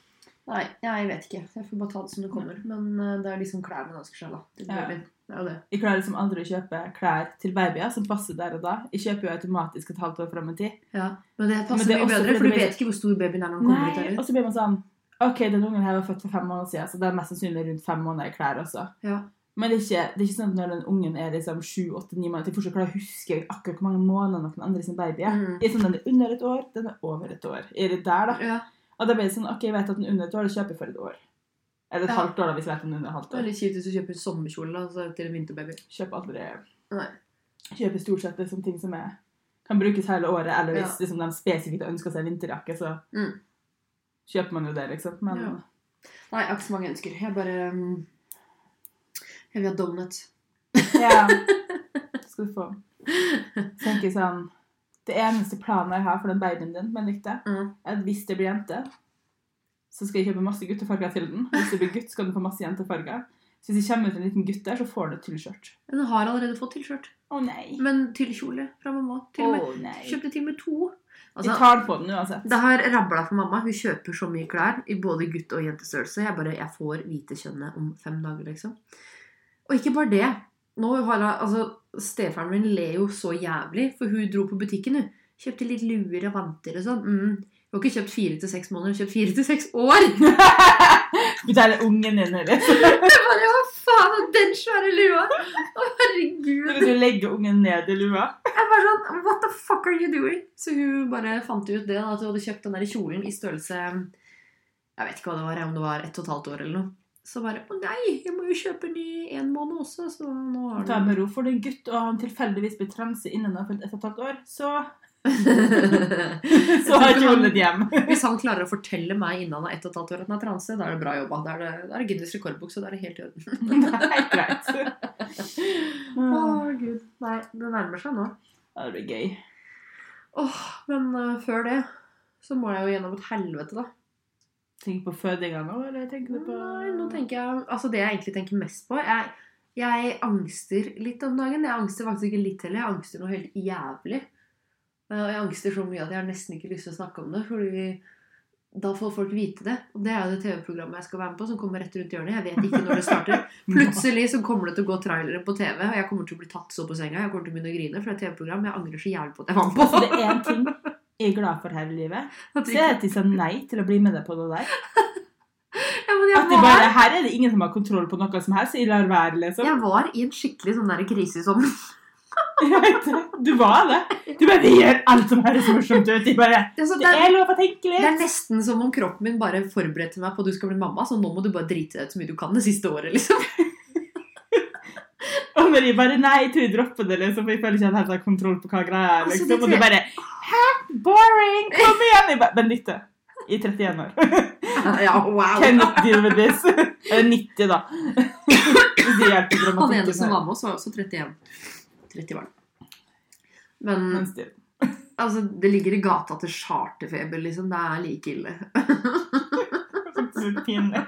Nei, jeg vet ikke. Jeg får bare ta det som det kommer. Men eh, det er liksom klærne man ønsker seg, da. Til Ja. babyen. Det er jo det. Jeg klarer liksom aldri å kjøpe klær til babyer som passer der og da. Jeg kjøper jo automatisk et halvt år fram i tid. Ja. Men det altså, Men passer det er mye også bedre, fordi for du det blir- vet ikke hvor stor babyen er når den kommer ut. Nei, heller. Og så blir man sånn Ok, den ungen her var født for fem måneder siden, så det er mest sannsynlig rundt fem måneder i klær også. Ja. Men det er ikke, det er ikke sånn at når den ungen er liksom sju, åtte, ni måneder, at jeg fortsatt klarer å huske akkurat hvor mange måneder noen andre sin baby er. Mm. Jeg er sånn, Den er under et år, den er over et år. Er det der, da? ja. Og da ble det sånn Ok, jeg vet at den er under et år, da kjøper jeg for et år. Eller et Ja. halvt år, da, hvis jeg vet den er under et halvt Det er år. litt kjipt hvis du kjøper sommerkjole da, så er det til en vinterbaby. Kjøper aldri Nei. Kjøper stort sett liksom ting som er, kan brukes hele året, eller hvis Ja. liksom, de spesifikt har ønska seg vinterjakke, så Mm. kjøper man jo det, liksom. Men Ja. Nei, jeg har ikke så mange ønsker. Jeg bare mm, Jeg vil ha donuts. Ja. Skal du få. Tenker sånn Det eneste planen jeg har for den babyen din, men likte, Mm. er at hvis det blir jente, så skal jeg kjøpe masse guttefarger til den. Hvis det blir gutt, skal den få masse jentefarger. Så hvis det kommer ut en liten gutt der, så får han et tullskjørt. Hun har allerede fått tilskjørt. Å nei. Men tyllkjole fra mamma. Å Mm, Til og med. nei. Kjøpte til og med to. Vi Altså, tar på den uansett. Det har rabla for mamma. Hun kjøper så mye klær i både gutt- og jentestørrelse. Jeg bare, jeg får vite kjønnet om fem dager, liksom. Og ikke bare det. Nå har jeg, altså, Stefaren min ler jo så jævlig, for hun dro på butikken, hun. Kjøpte litt luer og vanter og sånn. Mm. Hun har ikke kjøpt fire til seks måneder, hun har kjøpt fire til seks år! Betaler ungen din, eller? Jeg bare, Hva faen er den svære lua? Å, herregud. Du legger ungen ned i lua. Jeg var sånn What the fuck are you doing? Så hun bare fant ut det, da, at hun hadde kjøpt den der kjolen i størrelse Jeg vet ikke hva det var, om det var ett og et halvt år eller noe. Så bare Å nei, jeg må jo kjøpe en ny en måned også, så nå har Ta den med ro for det er en gutt, og han tilfeldigvis blir transe innen han har fylt ett og et halvt år, så, Jeg så tror har ikke kjolen han- et hjem. Hvis han klarer å fortelle meg innen han er ett og et halvt år at han er transe, da er det bra jobba. Da er det, da er det Guinness rekordbok, så da er det helt i orden. Det er helt greit. Å, Åh, gud. Nei, det nærmer seg nå. Det blir gøy. Åh, men eh, før det så må jeg jo gjennom et helvete, da. Tenk på fødinga nå, eller tenker du på Nei, nå tenker jeg Altså det jeg egentlig tenker mest på Jeg, jeg angster litt om dagen Jeg angster faktisk ikke litt heller Jeg angster noe helt jævlig Eh, Og jeg angster så mye at jeg har nesten ikke lyst til å snakke om det Fordi da får folk vite det Og det er jo det TV-programmet jeg skal være med på Som kommer rett rundt hjørnet Jeg vet ikke når det starter Plutselig så kommer det til å gå trailere på TV Og jeg kommer til å bli tatt så på senga Jeg kommer til å begynne å grine For det er et TV-program Jeg angrer så jævlig på at jeg var med Altså, på det er én ting jeg er glad for her i livet, At så jeg- er det at de sa nei til å bli med deg på det der. Ja, men jeg At de var- bare Her er det ingen som har kontroll på noe som helst, så jeg lar være, liksom. Jeg var i en skikkelig sånn der krise i sommer Jeg vet det. Du var det. Du bare Vi gjør alt som høres morsomt ut. De bare Altså, Det er lov å tenke Det er litt. nesten som om kroppen min bare forberedte meg på at du skal bli mamma, så nå må du bare drite deg ut så mye du kan det siste året, liksom. Og Marie bare Nei, Tui dropper det, liksom. For jeg føler ikke at jeg helt har kontroll på hva greia er, Altså, liksom. det Og du tror bare Hæ? Boring! Kom igjen! Jeg bare Benedicte. I 31 år. Ja, wow. Cannot deal with this. Eller 90, da. Hvis det Han hjelper liksom ene som dramatikken. var med oss, var også 31. 30 var han. Men Men still. altså, det ligger i gata til charterfeber, liksom. Det er like ille. Absolutt pinlig.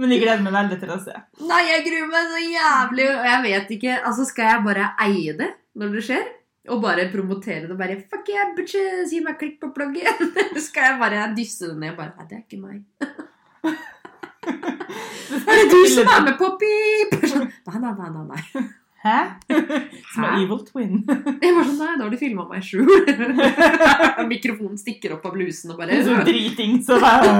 Men jeg gleder meg veldig til å se. Nei, jeg gruer meg så jævlig, og jeg vet ikke Altså, skal jeg bare eie det når det skjer? Og bare promotere det og bare Fuck yeah, bitches! Gi meg klikk på plugget! Eller skal jeg bare dysse det ned og bare Nei, det er ikke meg. Er det du som er med på pip? Sånn, Nei, nei, nei, nei. nei. Hæ? Som er evil twin. Jeg var sånn, nei, da har du filma meg i skjul. Mikrofonen stikker opp av blusen og bare Så sånn driting, så bare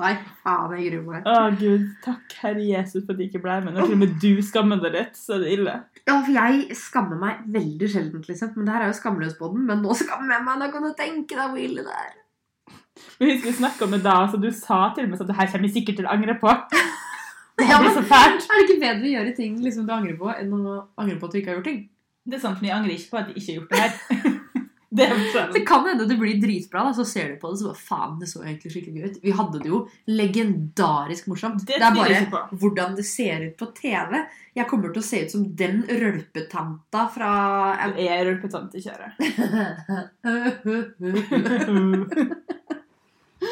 Nei, faen, jeg gruer meg. Å, gud. Takk, Herre Jesus, for at jeg ikke ble med. Når til og med du skammer deg litt, så er det ille. Ja, for jeg skammer meg veldig sjeldent, liksom. Men det her er jo skamløs på den. Men nå skammer jeg meg. Da kan du tenke deg hvor ille det er. Jeg husker vi snakket om det da, så du sa til meg sånn, det her kommer jeg sikkert til å angre på. Det Ja, blir men- så fælt. Er det ikke bedre å gjøre ting liksom, du angrer på, enn å angre på at du ikke har gjort ting? Det er sant, men jeg angrer ikke på at jeg ikke har gjort det her. Det er sånn. Det sant. kan hende det blir dritbra, da, så ser du på det så bare faen, det så egentlig skikkelig gøy ut. Vi hadde det jo legendarisk morsomt. Det Det, er tviler jeg ikke bare hvordan det ser ut på TV. Jeg kommer til å se ut som den rølpetanta fra Jeg er rølpetant i kjøret.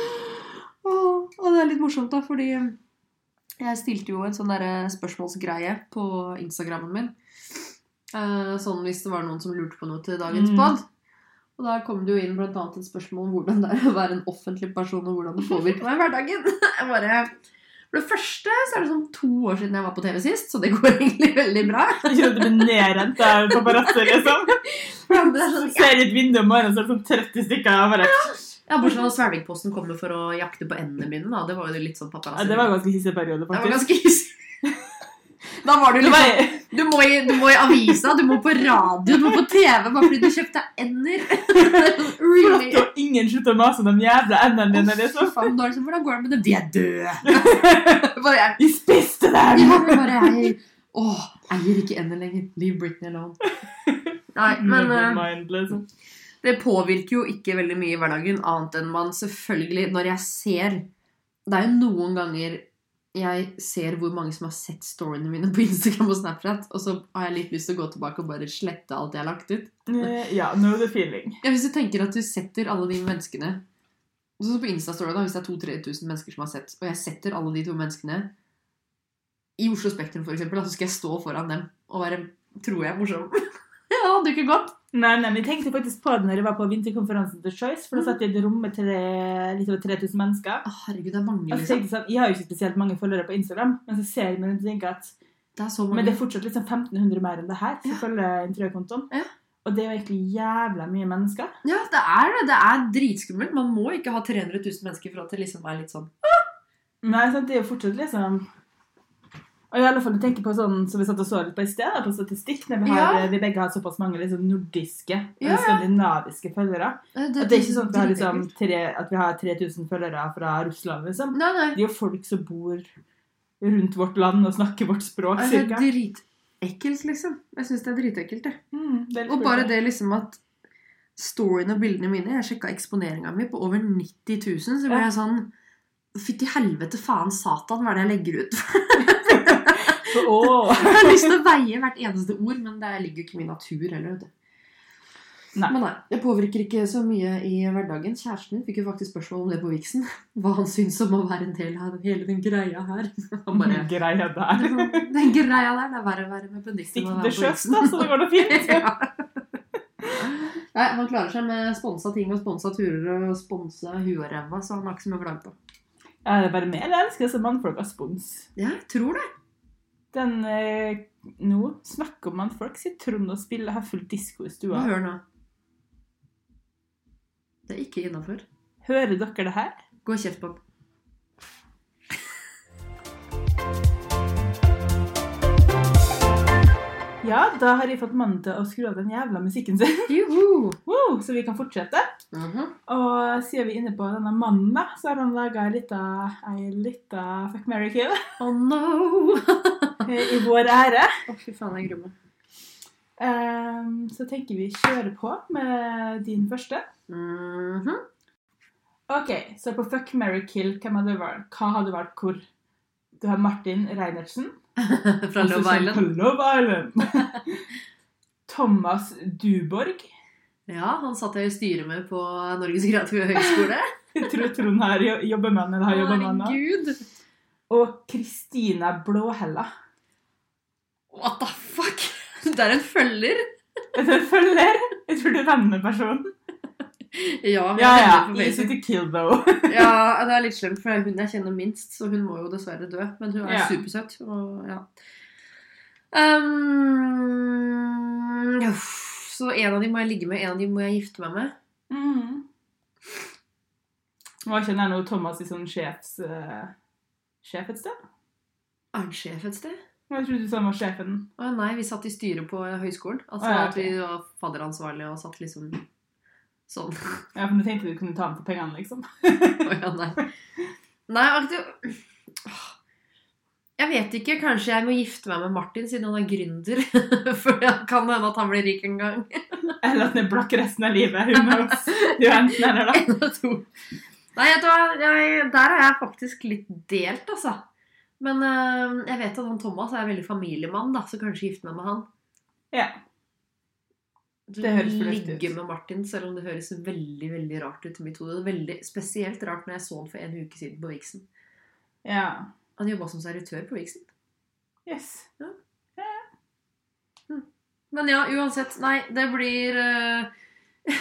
Åh, Og det er litt morsomt, da, fordi jeg stilte jo en sånn derre spørsmålsgreie på Instagrammen min. Eh, Sånn hvis det var noen som lurte på noe til dagens Mm. pod. Og da kom det jo inn blant annet et spørsmål om hvordan det er å være en offentlig person, og hvordan det påvirker meg i hverdagen. Jeg bare... For det første så er det sånn to år siden jeg var på TV sist, så det går egentlig veldig bra. Ikke at du blir nedrent av paparazzo, liksom. For det andre er sånn, Ser i et vindu om morgenen, så er det sånn 30 stykker. Og bare, Ja, bortsett fra at Svelvikposten kommer for å jakte på endene mine, da. Det var jo litt sånn paparazzi. ja, det var en ganske hissig Det periode, var faktisk. ganske hissig. Da var du Det liksom var, du må, i, du må i avisa, du må på radio, du må på TV bare fordi du kjøpte ender. really? flott, og ingen slutter å mase om de jævla endene dine, liksom. Fy faen, da er det sånn, Hvordan går det med dem? De er døde! Bare jeg, De spiste ja, dem! men bare jeg Åh, eier ikke ender lenger. Leave Britney alone. Nei, men eh, Nevermind, liksom. Det påvirker jo ikke veldig mye i hverdagen, annet enn man selvfølgelig Når jeg ser Det er jo noen ganger jeg ser hvor mange som har sett storyene mine på Instagram og Snapchat, og så har jeg litt lyst til å gå tilbake og bare slette alt jeg har lagt ut. Eh, Ja, know the feeling. Ja, Hvis du tenker at du setter alle de menneskene Sånn som på Insta-story, da, hvis det er 2000-3000 mennesker som har sett, og jeg setter alle de to menneskene i Oslo Spektrum, for eksempel, da, så skal jeg stå foran dem og være Tror jeg er morsom. ja, det hadde jo ikke gått. Nei, nei, men jeg tenkte faktisk på det når jeg var på vinterkonferansen til Choice, for da satt jeg i et rom med tre- litt over 3000 mennesker. Å, herregud, det er mange, Og så liksom. tenkte jeg sånn, jeg har jo ikke spesielt mange følgere på Instagram, men så ser jeg meg rundt og tenker at Det er så Men det mange. er fortsatt liksom 1500 mer enn det her, som Mm. Ja. følger interiørkontoen. Ja. Og det er jo egentlig jævla mye mennesker. Ja, det er det. Det er dritskummelt. Man må ikke ha 300 000 mennesker for at det liksom er litt sånn Nei, sant? det er jo fortsatt liksom Og i alle fall jeg tenker på sånn som vi satt og så litt på i sted, da, på statistikk, når vi, har, vi begge har såpass mange liksom, nordiske Ja, ja. eller skandinaviske følgere. At det er ikke sånn at vi har, liksom, tre, at vi har 3000 følgere fra Russland, liksom. Nei, nei. Det er jo folk som bor rundt vårt land og snakker vårt språk, Altså, cirka. dritekkelt, liksom. Jeg syns det er dritekkelt, jeg. Mm, det er litt Og bare spesielt. det liksom at storyen og bildene mine Jeg sjekka eksponeringa mi på over 90 000, så ble jeg Ja. sånn Fytti helvete, faen satan, hva er det jeg legger ut? Åh. Jeg har lyst til å veie hvert eneste ord, men det ligger jo ikke i min natur heller. vet du. Nei. Men nei, det påvirker ikke så mye i hverdagen. Kjæresten min fikk jo faktisk spørsmål om det på viksen. Hva han syns om å være en del av hele den greia her. Han bare, sånn, Greia der. Den greia der, det er verre å være med Benedicte Stikk enn å være til på sjøs, isen. da, så det går da fint. Ja. Nei, han klarer seg med sponsa ting og sponsa turer og sponsa huet og ræva, så han har ikke så mye å klage på. Ja, det er bare mer jeg elsker som mannfolk har spons. Ja, jeg tror det. Den eh, nå snakker om mannfolk, sier Trond og spiller har fullt disko i Nå stua. hør nå. Det er ikke innafor. Hører dere det her? Gå og kjeft på den. Ja, da har jeg fått mannen til å skru av den jævla musikken sin, Juhu! Wow, så vi kan fortsette. Mhm. Og siden vi er inne på denne mannen, da, så har han laga ei lita fuck Mary Kill Oh no! eh, i vår ære. Å, fy faen, jeg gruer meg. Ehm, så tenker vi kjører på med din første. Mhm. Ok, så på Fuck, Mary Kill, hvem hadde du valgt? Hva hadde du valgt hvor? Du har Martin Reinertsen. Fra også Love kjent Island. Altså, sånn på Love Island. Thomas Duborg. Ja, han satt jeg i styret med på Norges kreative høgskole. Jeg tror Trond her jo- jobber med han, eller har jobbet med han. nå. Herregud! Og Kristina Blåhella. What the fuck? Det er en følger! Jeg tror jeg følger. Jeg tror du er venn med personen. Ja, Ja, ja. på Easy Facebook. to kill, though. Ja, det er litt slemt, for det er hun jeg kjenner minst, så hun må jo dessverre dø. Men hun er Ja. supersøt. Og, ja. Ehm, uff, så en av de må jeg ligge med, en av de må jeg gifte meg med. Mm. Var ikke den der noe Thomas i sånn sjefs... eh, sjef et sted? Er han sjef et sted? Jeg trodde du sa han var sjefen. Å nei, vi satt i styret på høyskolen. Altså Å, ja, at vi var fadderansvarlige og satt liksom sånn. Ja, for nå tenkte du kunne ta han for pengene, liksom. Å ja, nei. Nei, aktiv... Åh. Jeg vet ikke. Kanskje jeg må gifte meg med Martin siden han er gründer. For det kan hende at han blir rik en gang. Eller at den er blakk resten av livet. Who knows? Det er jo enten eller, da. En og to. Nei, vet du hva? Jeg, der er jeg faktisk litt delt, altså. Men eh, jeg vet at han Thomas er veldig familiemann, da, så kanskje gifte meg med han. Ja. Du Det høres fornuftig ut. Ligge med Martin, selv om det høres veldig veldig rart ut i mitt hode. Det er Veldig Spesielt rart når jeg så han for en uke siden på Vixen. ja. Han jobba som servitør på Vixen. Yes. Men ja, uansett. Nei, det blir eh,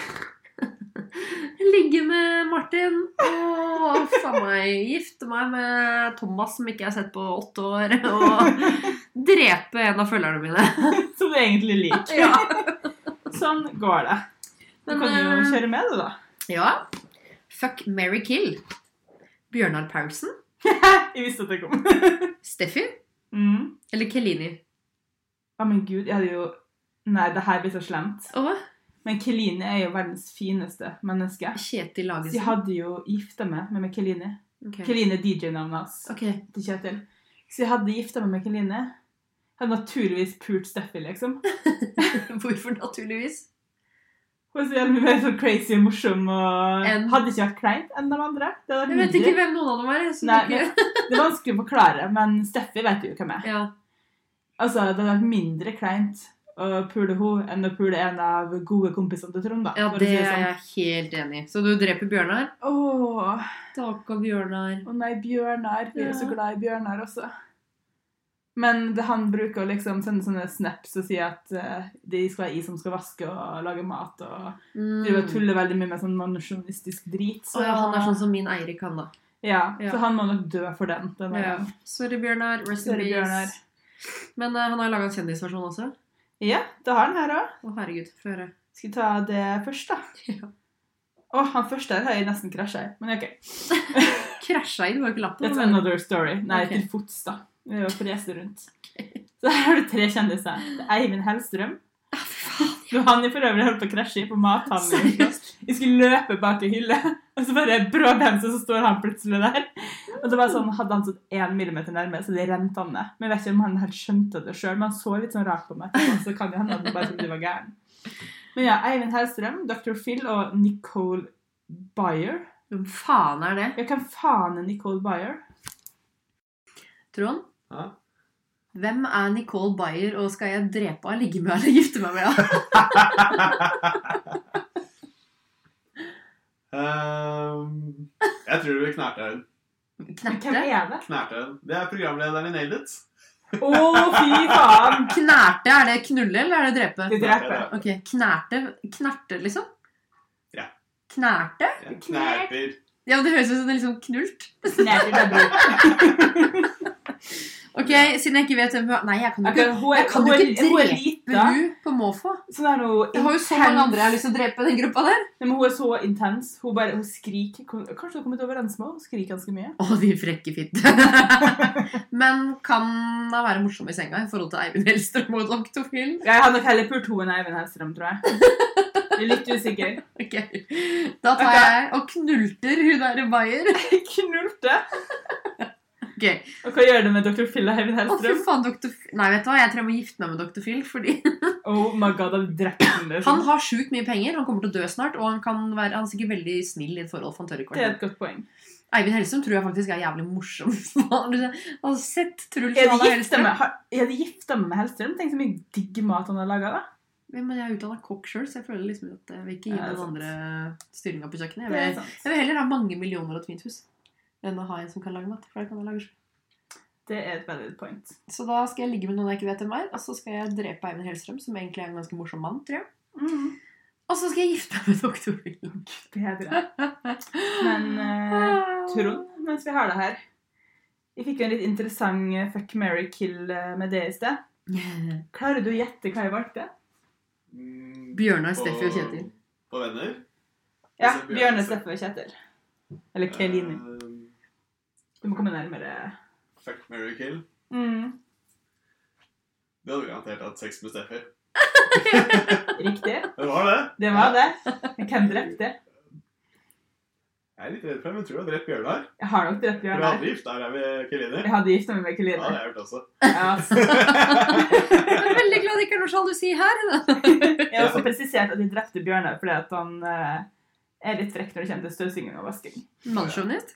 Ligge med Martin og faen meg gifte meg med Thomas, som ikke jeg har sett på åtte år, og drepe en av følgerne mine. Som du egentlig liker. Ja. Sånn går det. Du Men, kan jo eh, kjøre med, du, da. ja. Fuck Mary Kill. Bjørnar Paulsen. Jeg visste at det kom. Steffi. Mm. Eller Kelini. Ja, men gud, jeg hadde jo Nei, det her blir så slemt. Og Men Kelini er jo verdens fineste menneske. Kjetil Så jeg Lagesen. hadde jo gifta meg med Kelini. Ok. Kelini er DJ-navnet hans. Ok. til Kjetil. Så jeg hadde gifta meg med Keline. Jeg hadde naturligvis pult Steffi, liksom. Hvorfor naturligvis? Hun Og så er vi mer sånn crazy og morsom og Enn- Hadde ikke vært kleint enn de andre. Det, hadde Jeg vært vet ikke nydelig. hvem noen av dem er. Så Nei, det er ikke- det er vanskelig å forklare, men Steffi vet jo hvem jeg er. ja. Altså, det hadde vært mindre kleint å pule henne enn å pule en av gode kompisene til Trond, da. ja, for å det si er sånn. jeg helt enig i. Så du dreper Bjørnar? Åh, Takk av Bjørnar. å nei, Bjørnar. Vi er jo så Ja. glad i Bjørnar også. Men det, han bruker å liksom sende sånne snaps og si at eh, de skal være i som skal vaske og lage mat og Mm. driver og tuller veldig mye med sånn manusjonistisk drit. Å ja, han er sånn som min Eirik, han da. ja, Ja. så han må nok dø for den. den Ja. er- Sorry, Bjørnar. Rest in Sorry, Bjørnar. peace. Men eh, han har laga en kjendisversjon også. ja, det har han her òg. Å, herregud. Få høre. Skal vi ta det først, da? Ja. Å, han første her har jeg nesten krasja i. Men OK. Krasja inn, var ikke latter. That's men- another story. Nei, Ok. til fots, da. Vi var frese rundt. Så her har du tre kjendiser. Det er Eivind Hellstrøm. Ah, Som han i for øvrig holdt på å krasje i på mathandelen. Seriøst. Vi skulle løpe bak ei hylle, og så bare bråbremser, så står han plutselig der. Og det var sånn, Hadde han stått én millimeter nærme, så det rente han ned. Men jeg vet ikke om han helt skjønte det sjøl, men han så litt sånn rart på meg. etterpå, Så kan det hende at han bare trodde jeg var gæren. Men ja, Eivind Hellstrøm, Dr. Phil og Nicole Byer. Hvem faen er det? Ja, hvem faen er Nicole Byer? Trond? Ja. Hvem er Nicole Bayer, og skal jeg drepe henne, ligge med henne eller gifte meg med henne? Ehm, jeg tror vi knerte den. Hvem Knerte? er det? Knerte den. Det er programlederen i Nailed It. Å, fy faen! Knerte, er det knulle, eller er det Det drepe? dreper. Ok, knerte, knerte liksom? Ja. Knerte? Ja, Knerter. Ja, men det høres ut som det er liksom knult. Ok, siden jeg ikke vet hvem hun er. Nei, jeg kan jo ikke, jeg kan jo ikke Hun er drepe lita. hun på måfå. Sånn er hun Jeg har jo så mange andre jeg har lyst til å drepe i den gruppa der. Nei, men hun er så intens. Hun bare, hun skriker. Kom- Kanskje hun har kommet overens med henne? Hun skriker ganske mye. Å, de frekke fitte. men kan da være morsom i senga i forhold til Eivind Hellstrøm og Dr. Phil? Jeg har nok heller pult henne enn Eivind Hellstrøm, tror jeg. Jeg er litt usikker. Ok, Da tar Ok. jeg og knulter hun der Bayer. Jeg knulte. Ok, Og hva gjør det med dr. Phil og Eivind Å, fy Hellstrøm? faen, Dr. Phil. Nei, vet du hva, jeg tror jeg må gifte meg med Dr. Phil. Fordi Oh my god, han drepte henne. han liksom. har sjukt mye penger, han kommer til å dø snart, og han, kan være, han er sikkert veldig snill i et forhold. for han tør ikke Det er være et godt poeng. det. Eivind Hellstrøm tror jeg faktisk er jævlig morsom. Har du har du sett Truls Jeg Hanna hadde gifta Hellstrøm? meg, har- jeg hadde gifta meg med Hellstrøm. Tenk så mye digg mat han har laga, da. Ja, Men jeg er utdanna kokk sjøl, så jeg føler liksom at jeg vil ikke gi Ja, det er noen sant. andre styringa på kjøkkenet. Jeg Det er vil, sant. jeg vil heller ha mange millioner og et fint hus enn å ha en som kan lage mat. For det kan jeg lage selv. Det er et veldig godt poeng. Så da skal jeg ligge med noen jeg ikke vet hvem er, og så skal jeg drepe Eivind Hellstrøm, som egentlig er en ganske morsom mann, tror jeg. Mm. Og så skal jeg gifte meg med doktor Wilhelm. Bedre. Men eh, Trond, mens vi har det her. Vi fikk jo en litt interessant eh, fuck, marry, kill eh, med det i sted. Klarer du å gjette hva jeg valgte? Mm, Bjørnar, på- Steffi og Kjetil. På Venner. Ja, Altså, Bjørn- Bjørne, Steffen og Kjetil. Eller Kelini. Ehm, Du må komme nærmere. fuck, marry, kill. Mm. Du hadde garantert hatt sex med Steffi. Riktig. Det var det. Det var det. Men hvem drepte? Jeg er litt redd for det, men tror du har drept Bjørnar? Jeg har nok drept Du Bjørn hadde her. gift deg med Kelini? Jeg hadde gifta meg med Ja, det Kelini. har jeg hørt også. Ja, altså. Jeg er veldig glad det ikke er noe sjalusi her. Jeg har også presisert at jeg drepte Bjørnar fordi at han eh, er litt frekk når det kommer til støvsuging og vasking. Mannssjåvinist.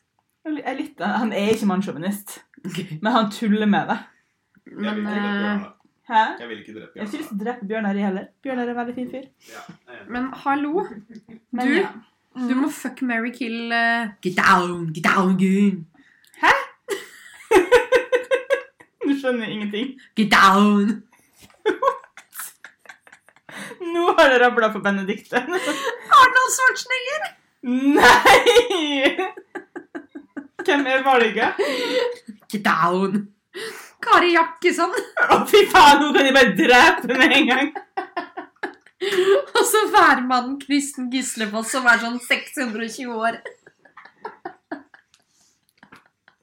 Jeg er litt, han er ikke mannssjåvinist, Okay. men han tuller med det. Jeg vil Men, ikke drepe eh, Bjørnar. Hæ? Jeg vil ikke drepe Jeg har ikke lyst til å Bjørnar. drepe Bjørnar i heller. Bjørnar er en veldig fin fyr. Ja, jeg er enig. men hallo, Men Du? ja. du Mhm. må fuck Mary Kill eh, Get down, get down, goon. Du skjønner ingenting. Get down. Nå har det rabla på Benedicte. Arnold Schwarzenegger. Nei! Hvem er valget? Get down. Kari Jakkesson. Å, fy faen, nå kan de bare drepe med en gang. Og så værmannen Kristen Gislefoss, som er sånn 620 år.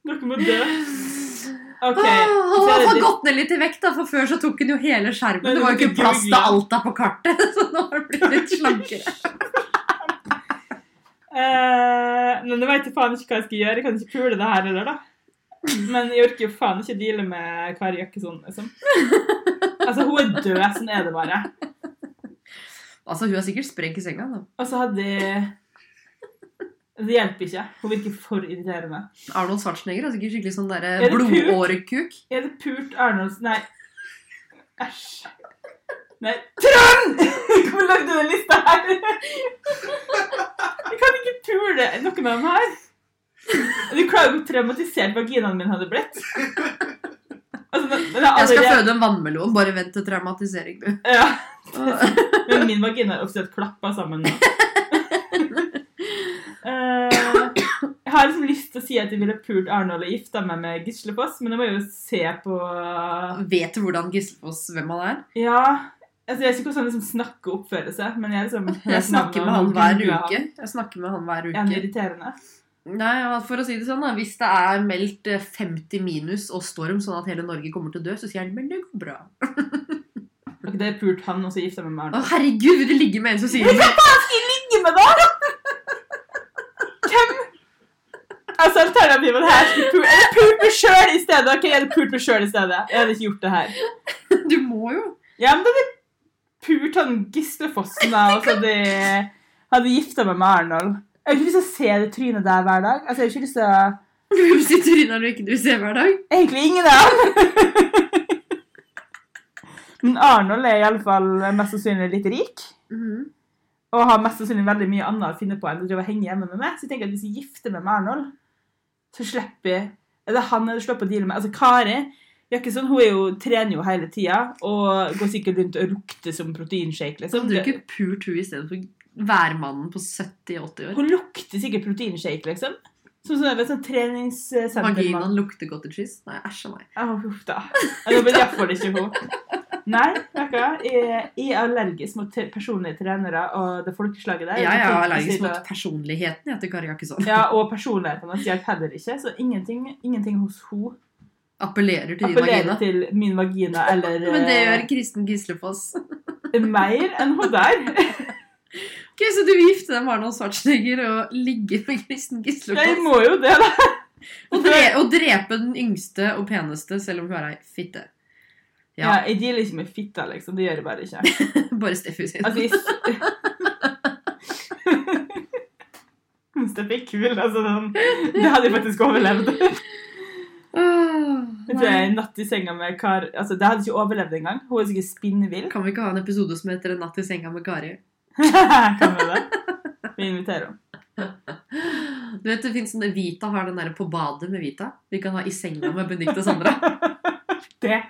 Dere må dø. Åh, Ah, OK. så Han er har det fått litt- gått ned litt i vekt, da, for før så tok hun jo hele skjermen. Nei, Det det var jo måtte ikke plass til google. alt der på kartet, så nå har det blitt litt slankere. Eh, men nå veit jeg faen ikke hva jeg skal gjøre. Jeg kan ikke pule det her heller, da. Men jeg orker jo faen ikke deale med Kari Jakkesson, liksom. Altså, hun er død, sånn er det bare. Altså, hun er sikkert sprek i senga. da. Og så hadde jeg Det hjelper ikke. Hun virker for irriterende. Arnold Schwarzenegger har sikkert skikkelig sånn Er det derre pult? blodårekuk. Jeg hadde pult Arnolds Nei. Æsj. Nei. Trond! Hvor lagde du den lista her? Jeg kan ikke pule noen av dem her. Du klarer hvor traumatisert vaginaen min hadde blitt. Altså, den- den er Jeg skal allerede- føde en vannmelon. Bare vent til traumatisering, du. Ja, men min vagina er oppsett klappa sammen nå. Eh, jeg har liksom lyst til å si at jeg ville pult Arnold og gifta meg med Gislefoss, men jeg må jo se på eh, Vet du hvordan Gislefoss hvem han er? Ja. Altså, jeg vet ikke hvordan han liksom snakker og oppfører seg, men jeg er liksom Jeg snakker med han hver uke. Jeg snakker med han hver Er han uke. irriterende? Nei, ja, for å si det sånn, da. Hvis det er meldt eh, 50 minus og storm, sånn at hele Norge kommer til å dø, så sier han men det går bra. Ok, det er pult han, og så gifter jeg meg med Å, Arne. herregud, vil du ligge med en som sier det? Ligge med deg! Hvem? Altså, alternativet her skulle pult Eller pult meg sjøl i stedet! Ok, jeg hadde pult meg sjøl i stedet. Jeg hadde ikke gjort det her. Du må jo. Ja, men da hadde jeg pult han Gislefossen, da, og så hadde jeg hadde gifta meg med Arnold. Jeg har ikke lyst til å se det trynet der hver dag. Altså, jeg har ikke lyst til å Du sitter inne når du ikke du ser hver dag. Egentlig ingen av dem. Men Arnold er iallfall mest sannsynlig litt rik. Mhm. Og har mest sannsynlig veldig mye annet å finne på enn å drive og henge hjemme med meg. Så jeg tenker at hvis jeg gifter meg med Arnold, så slipper jeg Eller han eller slipper å deale med Altså Kari Jakkesson hun er jo, trener jo hele tida og går sikkert rundt og lukter som proteinshake. Så Liksom. hadde du ikke pult hun i stedet for værmannen på 70-80 år. Hun lukter sikkert proteinshake, liksom. Som sånn, vet, du, sånn treningssenter. Vaginaen lukter godt i cheese. Nei, æsj a meg. Å, huff da. Ja, Det blir derfor det ikke hun. Nei, vet du hva? Jeg jeg er allergisk mot te- personlige trenere og det folkeslaget der. Jeg er Folk allergisk sier mot at- personligheten jeg, til Kari Jakkesson. Ja, og personligheten hans hjelper heller ikke, så ingenting, ingenting hos hun Appellerer til din appellerer eh, vagina. til min vagina eller Men det gjør Kristen Gislefoss. eh, mer enn hun der. Ok, Så du vil gifte deg med Arnold Schwarzenegger og ligge med Kristen Jeg Gislefoss? må jo det, da. Og, dre og drepe den yngste og peneste, selv om hun er ei fitte. Ja, Ja, Jeg dealer ikke med fitta, liksom. Det gjør jeg bare ikke. bare Steffi sin. Altså, jeg... Hvis det fikk kul, altså. den- Det hadde jeg faktisk overlevd. Åh, Jeg tror jeg nei. er natt i senga med kar Altså, Det hadde jeg ikke overlevd engang. Hun er sikkert spinnvill. Kan vi ikke ha en episode som heter 'En natt i senga med Kari'? kan vi det? Vi inviterer henne. Du vet, det finnes sånne Vita har den der på badet med Vita. Vi kan ha i senga med Benedicte og Sandra. Det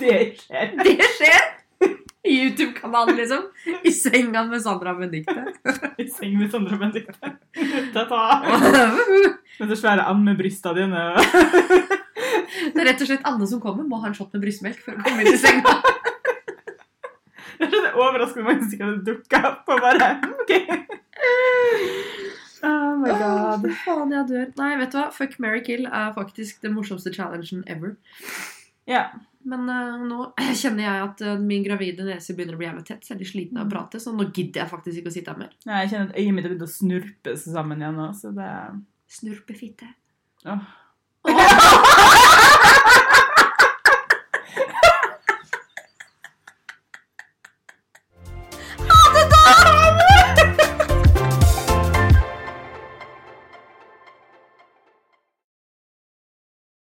det skjer. Det skjer! I YouTube-kanalen, liksom. I senga med Sandra og Benedicte. I seng med Sondre og Benedicte. Ta-ta. Det Med så svære ammebrystene dine. er rett og slett alle som kommer, må ha en shot med brystmelk for å komme inn i senga. Jeg skjønner overraskende mange som ikke hadde dukka opp og bare OK. Oh my Åh, god. fy faen, jeg dør. Nei, vet du hva? Fuck Mary Kill er faktisk den morsomste challengen ever. Ja. Men eh, nå kjenner jeg at eh, min gravide nese begynner å bli jævlig tett, så jeg er litt sliten Mm. av å prate, så nå gidder jeg faktisk ikke å sitte her mer. Nei, Jeg kjenner at øyet mitt har begynt å snurpe seg sammen igjen nå, så det Snurpefitte. Åh. Åh.